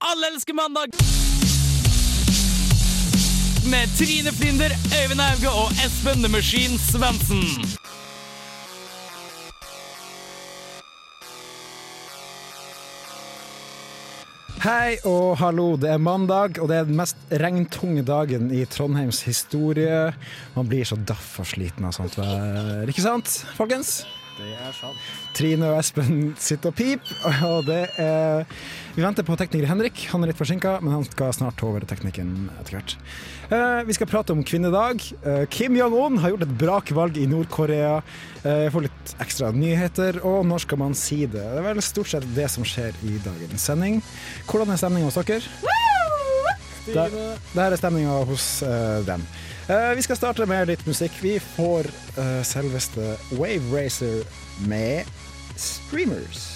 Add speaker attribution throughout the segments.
Speaker 1: Alle elsker mandag! Med Trine Flinder, Øyvind Auge og Espen The Machine Svendsen.
Speaker 2: Hei og hallo, det er mandag, og det er den mest regntunge dagen i Trondheims historie. Man blir så daff og sliten av sånt vær, ikke sant, folkens? Trine og Espen sitter og piper, og det er Vi venter på tekniker Henrik. Han er litt forsinka, men han skal snart ta over teknikken etter hvert. Eh, vi skal prate om kvinnedag. Eh, Kim Jong-un har gjort et brakvalg i Nord-Korea. Eh, jeg får litt ekstra nyheter, og når skal man si det? Det er vel stort sett det som skjer i dagens sending. Hvordan er stemninga hos dere? Der, der er stemninga hos eh, dem. Eh, vi skal starte med litt musikk. Vi får eh, selveste Wave Racer med Streamers.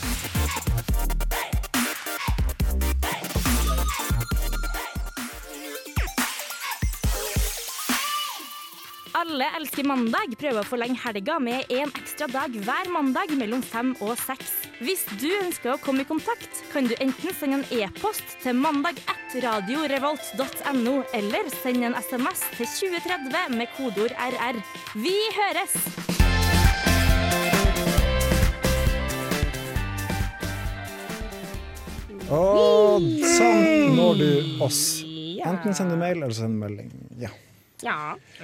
Speaker 3: Alle elsker mandag prøver å forlenge helga med en ekstra dag hver mandag mellom fem og seks. Hvis du ønsker å komme i kontakt, kan du enten sende en e-post til mandag1radiorevolt.no, eller sende en SMS til 2030 med kodeord RR. Vi høres!
Speaker 2: Og sånn når du oss. Enten sender du mail eller sender du melding. Ja.
Speaker 4: Ja.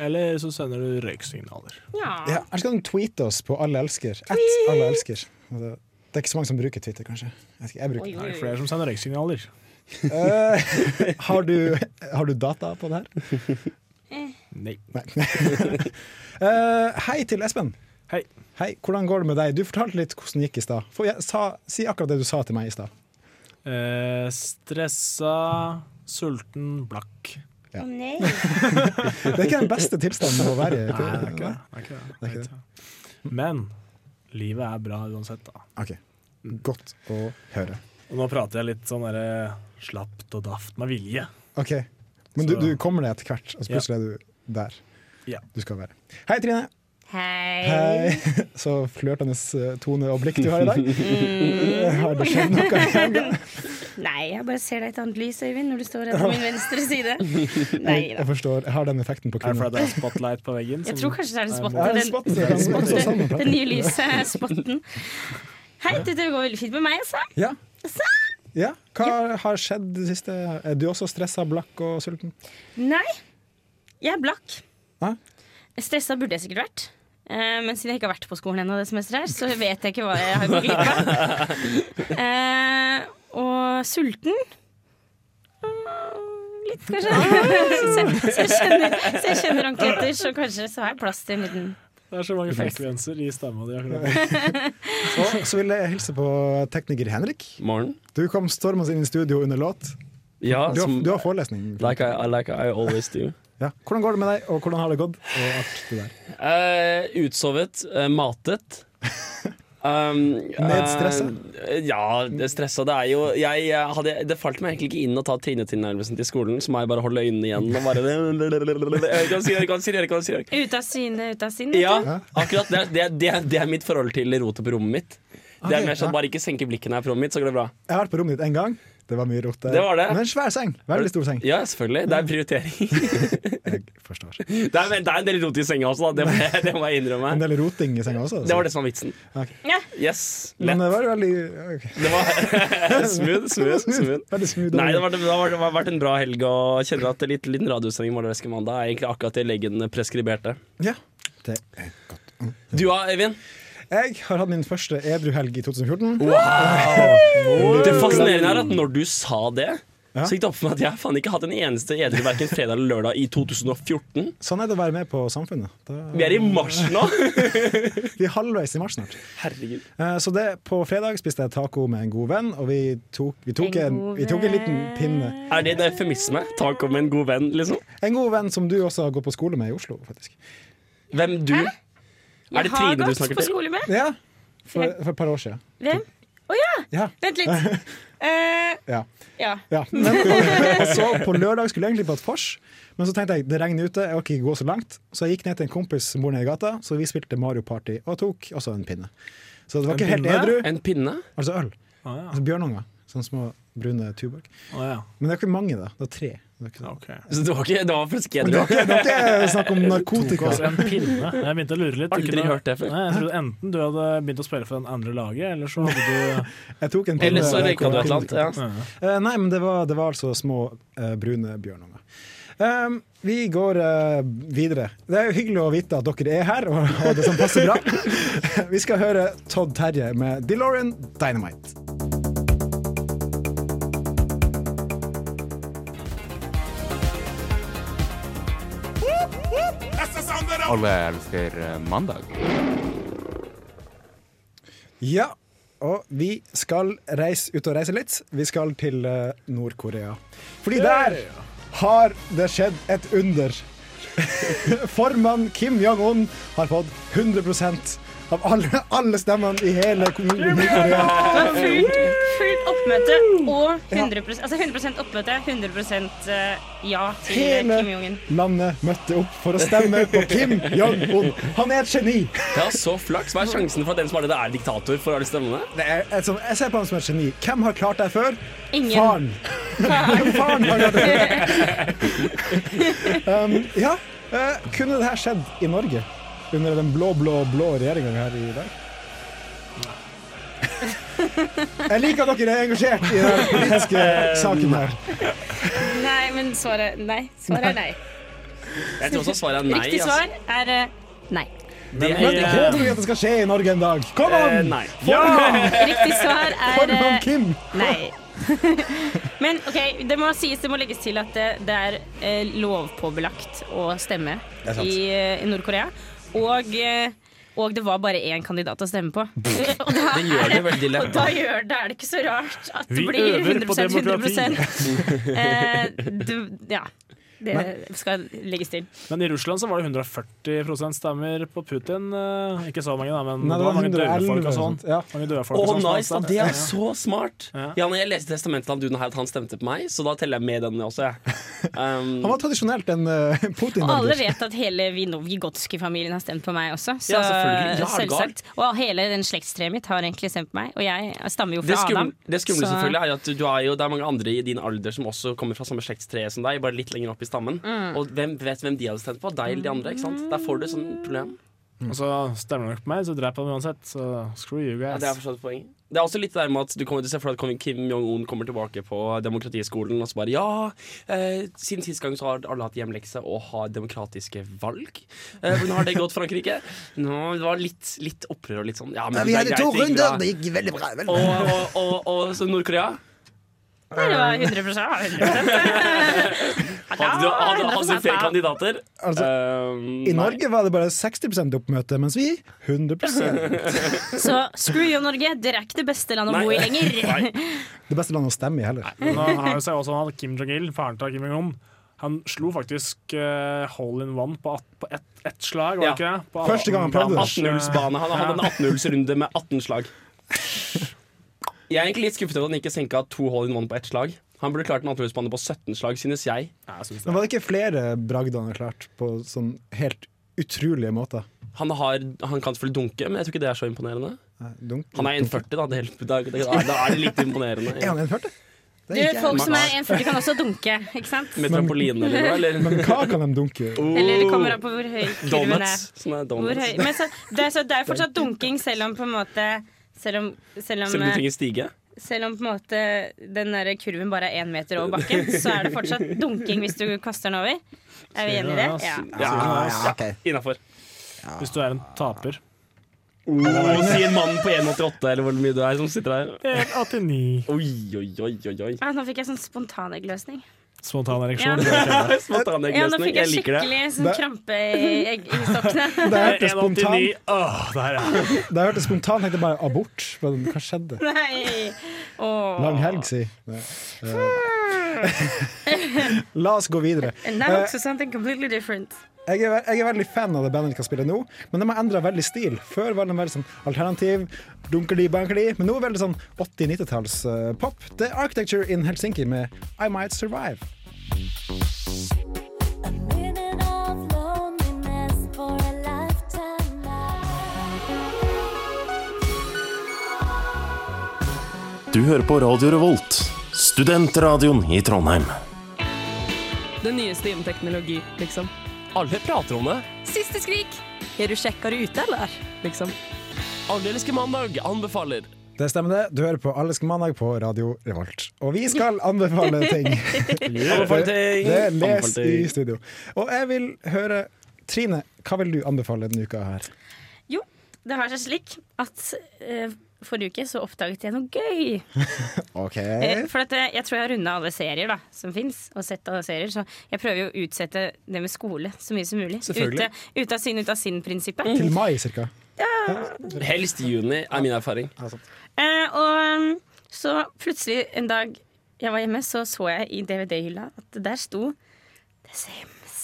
Speaker 5: Eller så sender du røyksignaler.
Speaker 4: ja.
Speaker 2: ja. Eller så kan du tweete oss på Alle elsker. Ett Alle elsker. Det det er ikke så mange som bruker Twitter, kanskje. Jeg, vet ikke, jeg bruker.
Speaker 4: Oi,
Speaker 2: det.
Speaker 4: oi,
Speaker 5: Det er
Speaker 4: oi.
Speaker 5: flere som sender røyksignaler.
Speaker 2: Eh, har, du, har du data på det her?
Speaker 5: Nei.
Speaker 2: Eh, hei til Espen.
Speaker 5: Hei.
Speaker 2: Hei, Hvordan går det med deg? Du fortalte litt hvordan det gikk i stad. Få- jeg sa- Si akkurat det du sa til meg i stad.
Speaker 5: Eh, stressa, sulten, blakk.
Speaker 4: Å nei.
Speaker 2: Det er ikke den beste tilstanden å være i.
Speaker 5: Nei, det er ikke det. det, er ikke det.
Speaker 2: er ikke
Speaker 5: Men livet er bra uansett, da.
Speaker 2: Ok, Godt å høre.
Speaker 5: Og nå prater jeg litt sånn derre slapt og daft med vilje.
Speaker 2: Ok, Men du,
Speaker 5: Så-
Speaker 2: du kommer deg etter hvert, og så plutselig er du der
Speaker 5: Ja.
Speaker 2: du skal være. Hei, Trine.
Speaker 4: Hei.
Speaker 2: Hei. Så flørtende eh, tone og blikk du har i dag. Eh, Har det skjedd noe? i helga?
Speaker 4: Nei, jeg bare ser deg i et annet lys, Øyvind, når du står her på min venstre side. Nei
Speaker 2: Jeg
Speaker 4: da.
Speaker 2: forstår. Jeg har den effekten på
Speaker 5: Er det fordi
Speaker 2: kvinner.
Speaker 5: det er spotlight på veggen?
Speaker 4: Jeg
Speaker 5: som-
Speaker 4: tror kanskje det er en spot.
Speaker 2: Ja, det er en
Speaker 4: Den-
Speaker 2: spot. Det er en spot.
Speaker 4: Det,
Speaker 2: Sånn,
Speaker 4: det nye lyset er spotten. Hei, dette går veldig fint med meg, altså.
Speaker 2: Ja. ja. Hva har skjedd det siste? Er du også stressa, blakk og sulten?
Speaker 4: Nei, jeg er blakk.
Speaker 2: Hæ?
Speaker 4: Stressa burde jeg sikkert vært. Eh, men siden jeg ikke har vært på skolen ennå, det semesteret her, så vet jeg ikke hva jeg har gått glipp av. Eh, og sulten. Mm, Litt, kanskje. så, så, jeg kjenner, så jeg kjenner anketter, så kanskje så har jeg plass til en liten
Speaker 5: Det er så mange frekvenser i stemma di akkurat nå.
Speaker 2: Og så vil jeg hilse på tekniker Henrik.
Speaker 6: Morgen.
Speaker 2: Du kom stormende inn i studio under låt.
Speaker 6: Ja,
Speaker 2: Du har,
Speaker 6: som,
Speaker 2: du har forelesning.
Speaker 6: like, I, like I always do.
Speaker 2: Ja. Hvordan går det med deg, og hvordan har det gått? Og alt det der.
Speaker 6: Eh, utsovet, eh, matet. Um,
Speaker 2: Nedstresset?
Speaker 6: eh, ja, det stressa. Det er jo jeg, jeg hadde, Det falt meg egentlig ikke inn å ta trinetilnærmelsen til skolen, så må jeg bare holde øynene igjen og bare Jeg kan si det, jeg kan si det, jeg kan si det.
Speaker 4: Ute av syne, ute av sinn. vet
Speaker 6: Ja,
Speaker 4: du.
Speaker 6: akkurat. Det, er- det, er- det, er- det er mitt forhold til rotet på rommet mitt. Det
Speaker 2: Ok,
Speaker 6: er mer
Speaker 2: ja.
Speaker 6: sånn bare ikke senke blikket her på rommet mitt, så går det bra.
Speaker 2: Jeg har vært på rommet ditt én gang. Det var mye rot der.
Speaker 6: Det var det.
Speaker 2: Men en svær seng. Veldig stor seng.
Speaker 6: Ja, selvfølgelig. Det er prioritering.
Speaker 2: Jeg forstår.
Speaker 6: Det er, det er en del rot i senga også, da. Det må jeg, det må jeg innrømme.
Speaker 2: En del roting i senga også. altså.
Speaker 6: Det var det som var vitsen.
Speaker 2: Ok.
Speaker 4: Ja.
Speaker 6: Yes.
Speaker 2: Men
Speaker 6: Lett.
Speaker 2: eh, det var veldig ok.
Speaker 6: Det var smooth, smooth, smooth.
Speaker 2: Veldig smooth.
Speaker 6: Nei, det har vært- det har vært- det har vært en bra helg, og jeg kjenner at litt, liten radiosending Malerveske mandag er egentlig akkurat det legen preskriberte.
Speaker 2: Ja. Det er godt.
Speaker 6: Du da, Eivind?
Speaker 2: Jeg har hatt min første edruhelg i 2014.
Speaker 6: Det fascinerende er at når du sa det,
Speaker 2: Ja.
Speaker 6: så gikk det opp for meg at jeg har faen ikke hatt en eneste edru hverken fredag eller lørdag i 2014.
Speaker 2: Sånn er det å være med på Samfunnet. Da-
Speaker 6: Vi er i mars nå!
Speaker 2: Vi er halvveis i mars snart.
Speaker 6: Herregud.
Speaker 2: Eh, Så det, på fredag spiste jeg taco med en god venn, og vi tok, vi tok,
Speaker 4: En
Speaker 2: en,
Speaker 4: god
Speaker 2: vi tok en liten pinne.
Speaker 6: Er det en eufemisme? Takk om en god venn, liksom?
Speaker 2: En god venn som du også har gått på skole med i Oslo, faktisk.
Speaker 6: Hvem du? Er det
Speaker 4: Jeg har
Speaker 6: Trine du
Speaker 4: gått
Speaker 6: snakker
Speaker 4: på
Speaker 6: til?
Speaker 4: skole med.
Speaker 2: Ja, for, for et par år siden.
Speaker 4: Hvem? Å ja!
Speaker 2: Ja.
Speaker 4: Vent litt. Eh,
Speaker 2: Ja.
Speaker 4: ja.
Speaker 2: Ja, men, og så på lørdag skulle jeg egentlig på et vors, men så tenkte jeg det regner ute, jeg orker ikke gå så langt. Så jeg gikk ned til en kompis som bor nede i gata, så vi spilte Mario Party og tok også en pinne. Så det var
Speaker 5: En
Speaker 2: ikke helt
Speaker 5: pinne?
Speaker 2: edru.
Speaker 6: En pinne?
Speaker 2: Altså øl.
Speaker 5: Å ja.
Speaker 2: Altså bjørnunger. Sånne små brune tuborg.
Speaker 5: Å ja.
Speaker 2: Men det er ikke mange, da. Det er tre. Det er ikke,
Speaker 5: Ok.
Speaker 6: Så det var ikke det var faktisk ikke
Speaker 2: det
Speaker 6: edru?
Speaker 2: er ikke, det er ikke snakk om
Speaker 5: Tok
Speaker 2: narkotika.
Speaker 5: oss en pinne. Jeg begynte å lure litt.
Speaker 6: Aldri
Speaker 5: Kunne-
Speaker 6: hørt det før.
Speaker 5: Nei, jeg trodde enten du hadde begynt å spille for den andre laget, eller så hadde
Speaker 2: Jeg tok en
Speaker 6: Eller så
Speaker 2: pinne-
Speaker 6: røyka du et eller annet. Ja.
Speaker 5: du ja.
Speaker 2: Eh, nei, men det var, det var altså små eh, brune bjørnunger. Ehm, vi går eh, videre. Det er jo hyggelig å vite at dere er her, og, og det som passer bra. vi skal høre Todd Terje med DeLorean Dynamite.
Speaker 7: Alle elsker eh, mandag.
Speaker 2: Ja, og vi skal reise ut og reise litt. Vi skal til eh, Nord-Korea. Fordi der har det skjedd et under. Formann Kim Jong-un har fått 100 av alle, alle stemmene i hele Nord-Korea.
Speaker 4: Det var fullt, fullt oppmøte og 100 altså 100 oppmøte, 100 eh, ja til
Speaker 2: Hele
Speaker 4: Kim Jong-un.
Speaker 2: landet møtte opp for å stemme på Kim Jong-un. Han er et geni!
Speaker 6: ja, så flaks. Hva er sjansen for at den som har det, er diktator for alle stemmene?
Speaker 2: Det er et sånt, jeg ser på ham som et geni. Hvem har klart det før?
Speaker 4: Ingen.
Speaker 2: Faren. Faren har klart det før. Um, ja, eh, kunne det her skjedd i Norge? Under den blå-blå-blå regjeringa her i dag? Jeg liker at dere er engasjert i den politiske
Speaker 6: Eh,
Speaker 2: saken her.
Speaker 4: Nei, men svaret nei. Svaret er nei.
Speaker 6: Jeg tror også svaret er nei.
Speaker 4: Riktig
Speaker 6: altså.
Speaker 4: svar er eh, nei.
Speaker 6: Det
Speaker 2: Men
Speaker 6: er,
Speaker 2: håper vi at det skal skje i Norge en dag. Kom
Speaker 6: eh,
Speaker 2: an!
Speaker 6: nei.
Speaker 4: Riktig svar er
Speaker 2: Formann
Speaker 4: eh,
Speaker 2: Kim!
Speaker 4: nei. Men OK, det må sies, det må legges til at det, det er eh, lovpåbelagt å stemme
Speaker 2: er sant.
Speaker 4: i, eh, i Nord-Korea. Og, eh, og det var bare én kandidat å stemme på. og da
Speaker 6: Det gjør det veldig
Speaker 4: Og
Speaker 6: lett.
Speaker 4: da gjør, da er det ikke så rart at det
Speaker 5: Vi
Speaker 4: blir
Speaker 5: øver på
Speaker 4: 100 100 eh, du, Ja. Det skal legges til.
Speaker 5: Men i Russland så var det 140 stemmer på Putin. eh, Ikke så mange, da, men
Speaker 2: Nei,
Speaker 5: det var mange døde
Speaker 2: 111
Speaker 5: folk og
Speaker 2: eller
Speaker 5: sånn.
Speaker 2: sånt, ja.
Speaker 5: Mange døde folk
Speaker 6: Å,
Speaker 5: og sånn. som
Speaker 6: nice!
Speaker 5: var
Speaker 6: Da,
Speaker 5: sterkt.
Speaker 6: det er så smart!
Speaker 5: Ja.
Speaker 6: Ja, når jeg leste testamentet til han duden her at han stemte på meg, så da teller jeg med den også, jeg. Um,
Speaker 2: Han var tradisjonelt en uh,
Speaker 4: Og alle
Speaker 2: Putin-velger.
Speaker 4: vet at hele Vinovgigotskij-familien har stemt på meg også. Så
Speaker 6: Ja, selvfølgelig. Ja, er du gal?
Speaker 4: selvsagt. Og hele den slektstreet mitt har egentlig stemt på meg. Og jeg stammer jo
Speaker 6: det
Speaker 4: fra Adam.
Speaker 6: skumle, det skumle
Speaker 4: så-
Speaker 6: selvfølgelig er jo at du, du er jo, det er mange andre i din alder som også kommer fra samme slektstre som deg, bare litt lenger opp i stammen.
Speaker 4: Mm.
Speaker 6: Og hvem vet hvem de hadde stemt på? Deg eller de andre? ikke sant? Der får du sånn problem.
Speaker 5: Og så stemmer det nok på meg, så dreper han uansett. Så screw you
Speaker 6: Ja,
Speaker 5: guys.
Speaker 6: det er forstått poeng. Det er også litt der med at du kommer til å se for deg at Kim Jong-un kommer tilbake på demokratiskolen og så bare Ja, eh, siden sist gang så har alle hatt hjemlekse og har demokratiske valg. Eh, men har det gått Frankrike? Nå, det var litt, litt opprør og litt sånn. Ja, men det er greit, det gikk bra.
Speaker 2: gikk veldig bra.
Speaker 6: Og, og, og, og så Nord-Korea?
Speaker 4: Nei, det var 100, 100%.
Speaker 6: Hadde, du- hadde, hadde du flere kandidater?
Speaker 2: Altså,
Speaker 6: Um,
Speaker 2: I
Speaker 6: nei.
Speaker 2: Norge var det bare 60 oppmøte, mens vi 100
Speaker 4: Så screw you, Norge. Dere er ikke det beste landet å
Speaker 6: Nei.
Speaker 4: bo i lenger.
Speaker 2: Det beste landet å stemme i heller.
Speaker 5: Men nå har jo seg også han Kim Jong-il, faren til Kim Jong-un. Han slo faktisk eh, hole in one på, at, på ett ett slag, var det
Speaker 6: Ja.
Speaker 5: ikke det? På
Speaker 2: Første gang han prøvde det.
Speaker 6: 18-hullsbane. Han hadde en 18-hullsrunde med 18 slag. Jeg er egentlig litt skuffet over at han ikke senka to hole in one på ett slag. Han burde klart en 18-hullsbane på 17 slag, synes jeg.
Speaker 5: Ja, jeg synes det.
Speaker 2: Men var det ikke flere bragder han har klart på sånn helt utrolige måter?
Speaker 6: Han, har, han kan selvfølgelig dunke, men jeg tror ikke det er så imponerende.
Speaker 2: Nei, Dunk.
Speaker 6: Han er 1,40, da. Det, er- da, da. Da er det litt imponerende.
Speaker 2: Er
Speaker 6: Ja.
Speaker 2: han 1,40? Det
Speaker 4: Du,
Speaker 2: er ikke
Speaker 4: folk
Speaker 2: jeg.
Speaker 4: som er 1,40 kan også dunke, ikke sant?
Speaker 6: Med trampoline eller noe. Eller
Speaker 2: Men hva kan de dunke
Speaker 6: Oh,
Speaker 2: i?
Speaker 4: Eller det kommer an på hvor høy kurven er.
Speaker 6: donuts. Sånne
Speaker 4: Hvor
Speaker 6: donuts.
Speaker 4: høy. Men så, det, er, så det er fortsatt dunking, selv om på en måte Selv om, selv om, eh,
Speaker 6: Selv om du trenger stige.
Speaker 4: selv om på en måte den der kurven bare er én meter over bakken, så er det fortsatt dunking hvis du kaster den over. Er vi enige i det? Ja.
Speaker 6: Ja, ja, innafor.
Speaker 5: Hvis du er en taper.
Speaker 6: Og si en mann på 1,88 eller hvor mye du er, som sitter der.
Speaker 5: 1,89.
Speaker 6: Oi, oi, oi, oi, oi.
Speaker 4: Ah, nå fikk jeg sånn spontaneggløsning.
Speaker 5: Spontan
Speaker 4: Ja.
Speaker 5: ereksjon.
Speaker 4: Ja, nå
Speaker 6: Spontaneggløsning.
Speaker 4: fikk jeg
Speaker 6: Jeg liker det.
Speaker 4: skikkelig sånn
Speaker 2: Det-
Speaker 4: krampe i, egg- i stokkene.
Speaker 2: Da jeg hørte
Speaker 5: 1,89.
Speaker 2: spontan-
Speaker 5: Åh, det her er
Speaker 2: da jeg hørte spontan, tenkte jeg bare abort. Men Hva skjedde?
Speaker 4: Nei. Åh.
Speaker 2: Lang helg, si. Eh, La oss gå videre.
Speaker 4: And now it's something completely different.
Speaker 2: Jeg er, jeg er veldig fan av det bandet de kan spille nå, men de har endra veldig stil. Før var de veldig sånn alternativ, dunkeli-bankeli, men nå er det veldig sånn 80-90-talls-pop. Det er Architecture in Helsinki med I Might Survive.
Speaker 8: Du hører på Radio Revolt, studentradioen i Trondheim.
Speaker 9: Det nyeste innen teknologi, liksom.
Speaker 6: Alle prater om det.
Speaker 9: Siste skrik! Er du kjekkere ute, eller? Liksom.
Speaker 6: Alleliske mandag anbefaler.
Speaker 2: Det stemmer, det. Du hører på Alleske mandag på Radio Revolt. Og vi skal anbefale ting.
Speaker 6: Anbefaler ting.
Speaker 2: Det er les
Speaker 6: Anbefaler
Speaker 2: i
Speaker 6: ting.
Speaker 2: studio. Og jeg vil høre Trine, hva vil du anbefale denne uka her?
Speaker 4: Jo, det har seg slik at eh, forrige uke så oppdaget jeg noe gøy.
Speaker 2: OK.
Speaker 4: Eh, For at jeg, jeg tror jeg har runda alle serier da, som fins, og sett alle serier. Så jeg prøver jo å utsette det med skole så mye som mulig. Ute,
Speaker 2: Selvfølgelig. Mm.
Speaker 4: ute av sinn, ute av sinn-prinsippet.
Speaker 2: Til mai, cirka.
Speaker 6: Helst i juni, er min erfaring.
Speaker 4: Eh, og um, så plutselig en dag jeg var hjemme, så så jeg i DVD-hylla at det der sto The Sims.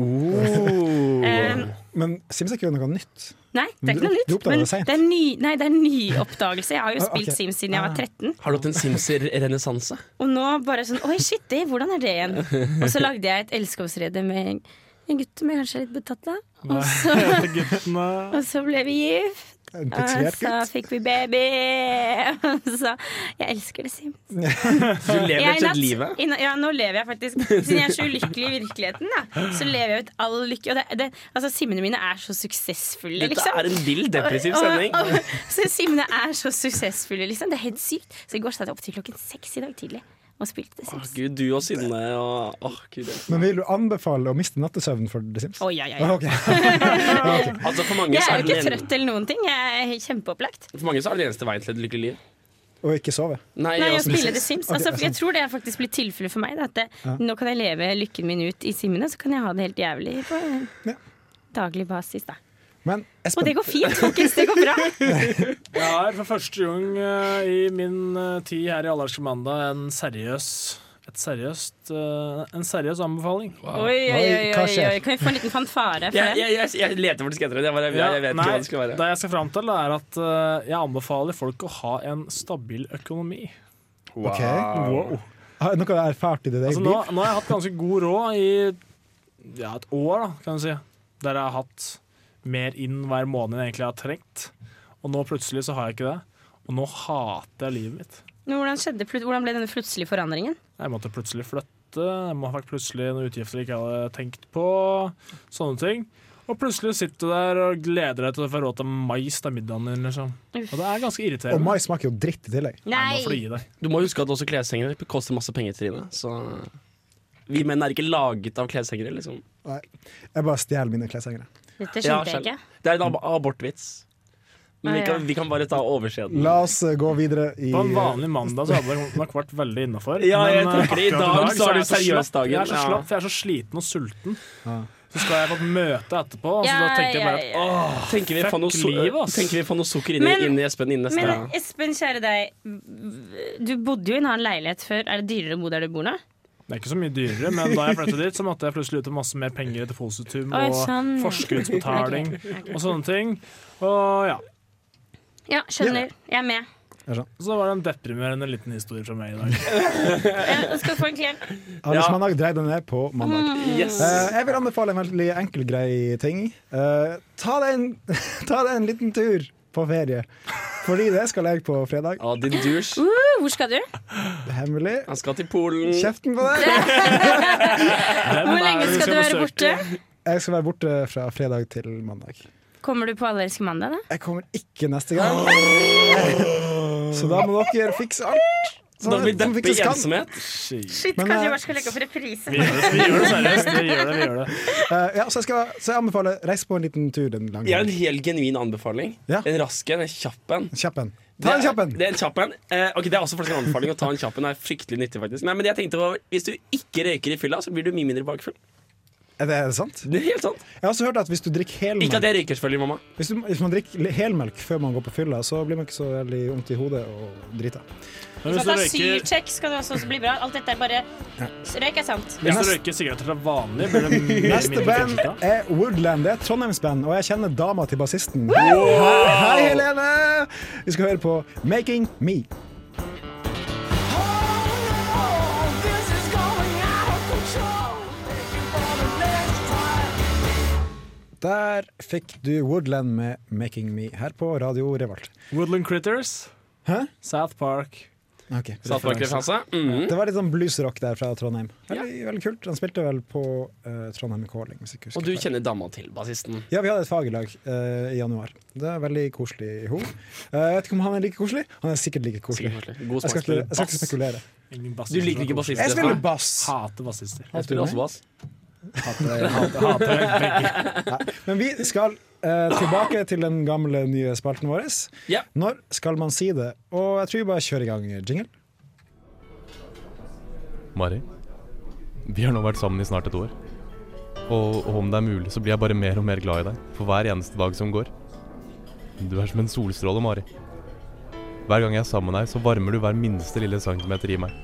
Speaker 6: Oh.
Speaker 4: Eh,
Speaker 2: Men Sims er ikke noe nytt.
Speaker 4: nei, det er ikke
Speaker 2: Men du-
Speaker 4: noe nytt.
Speaker 2: du oppdaget
Speaker 4: Men
Speaker 2: det sent.
Speaker 4: det er, ny, nei, det er en nyoppdagelse. Jeg har jo
Speaker 2: Ah, ok.
Speaker 4: spilt Sims siden jeg var 13.
Speaker 6: Har du hatt en Simser-renessanse?
Speaker 4: Og nå bare sånn Oi, shit, det, hvordan er det igjen? Og så lagde jeg et elskovsrede med en- en gutt som jeg kanskje er litt betatt av. Og så,
Speaker 5: Guttene
Speaker 4: og så ble vi gift,
Speaker 2: En
Speaker 4: og
Speaker 2: pikselert
Speaker 4: så
Speaker 2: gutt.
Speaker 4: fikk vi baby. Og så Jeg elsker The Sims.
Speaker 6: Du lever
Speaker 4: Jeg
Speaker 6: rett og slett
Speaker 4: natt-
Speaker 6: livet.
Speaker 4: i na- ja, nå lever jeg faktisk Siden jeg er så ulykkelig i virkeligheten, da, så lever jeg ut all lykke. Og det, det, altså, simmene mine er så suksessfulle,
Speaker 6: Dette
Speaker 4: liksom.
Speaker 6: er en vill depressiv sending.
Speaker 4: Og- og- så simmene er så suksessfulle, liksom. Det er helt sykt. Så i går satt jeg opp til klokken seks i dag tidlig og spilte The
Speaker 6: Åh,
Speaker 4: Sims.
Speaker 6: Gud, du og Synne og åh, Gud, jeg-
Speaker 2: Men vil du anbefale å miste nattesøvnen for The Sims?
Speaker 4: Å, ja, ja, ja.
Speaker 2: Ok.
Speaker 6: Altså, for mange,
Speaker 4: Jeg
Speaker 6: så
Speaker 4: er
Speaker 6: er
Speaker 4: jo
Speaker 6: det
Speaker 4: ikke
Speaker 6: den,
Speaker 4: trøtt eller noen ting. Jeg er kjempeopplagt.
Speaker 6: for mange så er det den eneste veien til et lykkelig liv.
Speaker 2: Og ikke sove.
Speaker 6: Nei,
Speaker 4: Nei, å
Speaker 6: jeg
Speaker 4: spille The Sims.
Speaker 2: Ok,
Speaker 4: Altså,
Speaker 2: sant.
Speaker 4: jeg tror det er faktisk blitt tilfellet for meg. Da, at det, nå kan jeg leve lykken min ut i simmene, så kan jeg ha det helt jævlig på eh,
Speaker 2: Ja.
Speaker 4: daglig basis, da.
Speaker 2: Men
Speaker 4: Og
Speaker 2: Espen,
Speaker 4: det går fint, folkens. Det går bra.
Speaker 5: Jeg har for første gang eh, i min eh, tid her i Allerske mandag en seriøs et seriøst, eh, en seriøs anbefaling.
Speaker 4: Oi, oi,
Speaker 2: Oi,
Speaker 4: oi,
Speaker 2: hva
Speaker 4: oi,
Speaker 2: skjer?
Speaker 4: oi. Kan vi få en liten fanfare for det?
Speaker 6: Jeg, jeg, jeg, jeg leter faktisk etter det. Jeg, bare, jeg, jeg vet
Speaker 5: nei,
Speaker 6: ikke hva det skulle være.
Speaker 5: Det jeg skal fram til, er at eh, jeg anbefaler folk å ha en stabil økonomi.
Speaker 2: ok. Har noe du har erfart i ditt eget
Speaker 5: Altså, nå, nå har jeg hatt ganske god råd i ja, et år, da, kan du si. Der jeg har hatt mer inn hver måned enn jeg egentlig har trengt. Og nå plutselig så har jeg ikke det. Og nå hater jeg livet mitt.
Speaker 4: Men Hvordan, skjedde, plut- hvordan ble denne plutselige forandringen?
Speaker 5: Jeg måtte plutselig flytte, jeg må ha vært plutselig noen utgifter jeg ikke hadde tenkt på. Sånne ting. Og plutselig sitter du der og gleder deg til å få råd til mais til middagen din. Liksom. Og det er ganske
Speaker 2: liv? Og
Speaker 5: irriterende.
Speaker 2: mai smaker jo dritt i tillegg.
Speaker 5: Nei, nå får du gi deg.
Speaker 6: Du må huske at også kleshengere koster masse penger, Trine. Så vi menn er ikke laget av kleshengere, liksom.
Speaker 2: Nei. Jeg bare stjeler mine kleshengere.
Speaker 4: Dette
Speaker 6: Ja,
Speaker 4: skjønte jeg ikke.
Speaker 6: Det er en ab abortvits. Men vi
Speaker 4: Ah, ja.
Speaker 6: kan, vi kan bare ta overskjeden.
Speaker 2: La oss eh, gå videre i
Speaker 5: På en vanlig mandag så hadde det nok vært veldig eh, innafor.
Speaker 6: Ja, jeg tenker i dag så er det seriøsdagen.
Speaker 5: Jeg er så
Speaker 6: Ja.
Speaker 5: slapp, for jeg er så sliten og sulten. Så skal jeg på et møte etterpå, og så
Speaker 4: Ja,
Speaker 5: da tenker jeg bare
Speaker 4: ja,
Speaker 5: at
Speaker 4: ja.
Speaker 5: åh,
Speaker 6: Tenker vi,
Speaker 5: Fuck
Speaker 6: får noe, so
Speaker 5: liv, ass.
Speaker 6: tenker vi får noe sukker inn i,
Speaker 4: Men-
Speaker 6: inn i Espen innen neste
Speaker 4: Men Espen, kjære deg. Du bodde jo i en annen leilighet før. Er det dyrere å bo der du bor nå?
Speaker 5: Det er ikke så mye dyrere, men da jeg flyttet dit, så måtte jeg plutselig ut med masse mer penger i depositum
Speaker 4: Oi,
Speaker 5: og
Speaker 4: sånn, ja.
Speaker 5: forskuddsbetaling og sånne ting. Og ja,
Speaker 4: Ja, skjønner. Jeg er med.
Speaker 5: så var det en deprimerende liten historie fra meg i dag.
Speaker 4: Ja, skal du få en klem?
Speaker 2: Alles
Speaker 6: Ja.
Speaker 2: mandag dreide ned på mandag.
Speaker 5: Mm.
Speaker 6: Yes.
Speaker 2: Eh, jeg vil anbefale en veldig enkel, grei ting. Eh, ta, deg en, ta deg en liten tur på ferie. Fordi det skal jeg på fredag.
Speaker 6: Å, din douche.
Speaker 4: Uh, hvor skal du?
Speaker 2: Hemmelig.
Speaker 6: Han skal til Polen.
Speaker 2: Kjeften på deg!
Speaker 4: Hvor lenge
Speaker 5: det
Speaker 4: skal
Speaker 5: vi
Speaker 4: du
Speaker 5: skal
Speaker 4: være borte?
Speaker 2: Jeg skal være borte fra fredag til mandag.
Speaker 4: Kommer du på Allerske mandag, da?
Speaker 2: Jeg kommer ikke neste gang. Så da må dere fikse alt.
Speaker 6: Da blir
Speaker 2: som
Speaker 6: deppe
Speaker 2: fikses
Speaker 6: i
Speaker 2: kan.
Speaker 6: ensomhet.
Speaker 4: Shit,
Speaker 2: Men,
Speaker 4: kanskje
Speaker 2: eh,
Speaker 4: jeg bare skal legge opp reprise?
Speaker 5: Vi gjør det, vi gjør det seriøst. Vi gjør det, vi gjør det.
Speaker 2: Eh, ja, så, jeg skal, så jeg anbefaler reis på en liten tur en lang
Speaker 6: Jeg har
Speaker 2: gang.
Speaker 6: en helt genuin anbefaling.
Speaker 2: Ja.
Speaker 6: En rask en, en kjapp en.
Speaker 2: Kjapp en. Ta en kjapp en!
Speaker 6: Det er en kjapp en. Eh, ok, det er også faktisk en anbefaling å ta en kjapp en. Det er fryktelig nyttig, faktisk. Nei, men jeg tenkte på, Hvis du ikke røyker i fylla, så blir du mye mindre bakfull.
Speaker 2: Er det, er det sant?
Speaker 6: Det er helt sant.
Speaker 2: Jeg har også hørt at hvis du drikker
Speaker 6: Ikke at
Speaker 2: helmelk
Speaker 6: jeg røyker, selvfølgelig, mamma.
Speaker 2: hvis, du, hvis man drikker li- helmelk før man går på fylla, så blir man ikke så veldig vondt i hodet og drita.
Speaker 5: Men
Speaker 4: Så
Speaker 5: hvis du
Speaker 4: ta
Speaker 5: røyker,
Speaker 4: syrtjekk skal du også så bli bra. Alt dette er bare Røyk er sant.
Speaker 5: hvis du
Speaker 2: Neste-
Speaker 5: røyker sigaretter fra vanlig, blir det mye
Speaker 2: Neste
Speaker 5: mindre
Speaker 2: band
Speaker 5: kjønnsutta.
Speaker 2: er Woodland. Det er et Trondheimsband, og jeg kjenner dama til bassisten. Hei, hei, Helene! Vi skal høre på Making Me. Der fikk du Woodland med 'Making Me' her på Radio Revolt.
Speaker 5: Woodland Critters.
Speaker 2: Hæ?
Speaker 5: South Park.
Speaker 2: Ok, referanse.
Speaker 6: Statsbankrefranse.
Speaker 2: Det var litt sånn bluesrock der fra Trondheim. Veldig, veldig kult. Han spilte vel på eh, Trondheim Calling. Hvis jeg ikke husker
Speaker 6: Og du
Speaker 2: feil.
Speaker 6: kjenner dama til bassisten.
Speaker 2: Ja, vi hadde et fag i lag eh, i januar. Det er veldig koselig i henne. jeg vet ikke om han er like koselig. Han er sikkert like koselig.
Speaker 6: Sikkert koselig. God
Speaker 2: Jeg skal,
Speaker 6: smak
Speaker 2: ikke,
Speaker 6: spiller
Speaker 2: jeg skal ikke
Speaker 6: bass.
Speaker 2: spekulere.
Speaker 5: Ingen bassister
Speaker 6: Du liker
Speaker 5: fra
Speaker 6: ikke
Speaker 5: Korsvoll.
Speaker 2: Jeg
Speaker 6: bassister?
Speaker 2: spiller bass!
Speaker 5: Hater bassister.
Speaker 6: Jeg spiller også bass.
Speaker 5: Hater, hater, hater begge.
Speaker 2: Men vi skal eh, tilbake til den gamle, nye spalten vår.
Speaker 6: Ja.
Speaker 2: Når skal man si det? Og jeg tror vi bare kjører i gang eh, jingle.
Speaker 7: Mari, vi har nå vært sammen i snart et år. Og, og om det er mulig, så blir jeg bare mer og mer glad i deg for hver eneste dag som går. Du er som en solstråle, Mari. Hver gang jeg er sammen med deg, så varmer du hver minste lille centimeter i meg.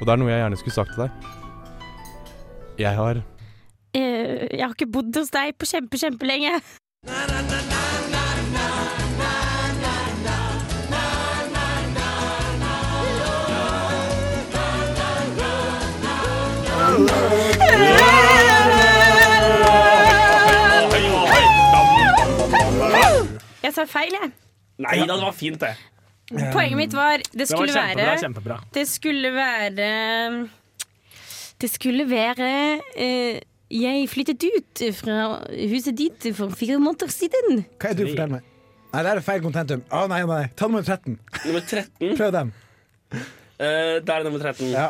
Speaker 7: Og det er noe jeg gjerne skulle sagt til deg. Jeg har
Speaker 4: Eh, Jeg har ikke bodd hos deg på kjempe, kjempelenge. Jeg sa feil, jeg.
Speaker 6: Nei da, det var fint, det.
Speaker 4: Poenget mitt var det
Speaker 5: Det var
Speaker 4: skulle
Speaker 5: kjempebra.
Speaker 4: være
Speaker 5: kjempebra.
Speaker 4: Det skulle være Det skulle være eh, Jeg flyttet ut fra huset ditt for fire måneder siden.
Speaker 2: Hva er det du
Speaker 5: Tre.
Speaker 2: forteller meg? Nei, det er feil kontentum. Å nei, nei, Ta nummer 13.
Speaker 6: Nummer 13.
Speaker 2: Prøv dem.
Speaker 6: Eh, der er nummer 13.
Speaker 2: Ja!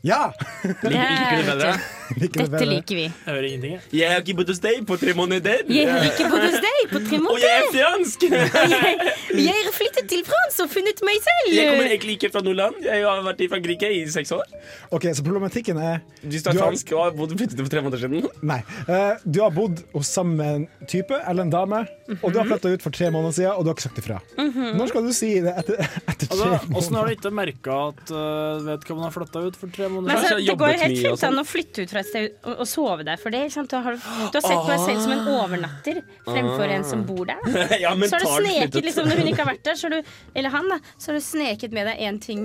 Speaker 2: ja.
Speaker 6: Liker, liker du det bedre?
Speaker 2: Liker du
Speaker 4: Dette
Speaker 2: bedre?
Speaker 4: liker vi.
Speaker 5: Jeg hører ingenting. jeg.
Speaker 6: Jeg har ikke bodd hos deg på tre måneder.
Speaker 4: Jeg har ikke bodd hos deg på tre
Speaker 6: Og jeg
Speaker 4: måneder.
Speaker 6: er fransk!
Speaker 4: Jeg har flyttet til Frans og funnet meg selv.
Speaker 6: Jeg kommer egentlig ikke fra Nordland. Jeg har vært i Frankrike i seks år.
Speaker 2: Ok, Så problematikken er
Speaker 6: Du snakker
Speaker 2: Du har-
Speaker 6: fransk og har bodd flyttet for tre måneder siden.
Speaker 2: Nei. Eh, du har bodd hos samme type eller en dame, og du
Speaker 4: Mhm.
Speaker 2: har flytta ut for tre måneder siden, og du har ikke sagt ifra. Når skal du si det etter, etter tre
Speaker 5: Altså, Åssen har
Speaker 2: måneder?
Speaker 5: du ikke merka at uh, vedkommende har flytta ut for tre
Speaker 4: Men
Speaker 5: måneder siden?
Speaker 4: altså,
Speaker 6: Kanskje jeg
Speaker 4: det går
Speaker 6: jobbet
Speaker 4: helt
Speaker 6: mye og
Speaker 4: fint
Speaker 6: sånn.
Speaker 4: an å flytte ut fra et sted og, og sove der for det. ikke Sant? Du, har, du har sett på deg selv som en overnatter fremfor en som bor der. da.
Speaker 6: Ja, men
Speaker 4: Så har du
Speaker 6: tar det
Speaker 4: sneket,
Speaker 6: flyttet.
Speaker 4: liksom, når hun ikke har vært der, så har du, eller han, da, så har du sneket med deg én ting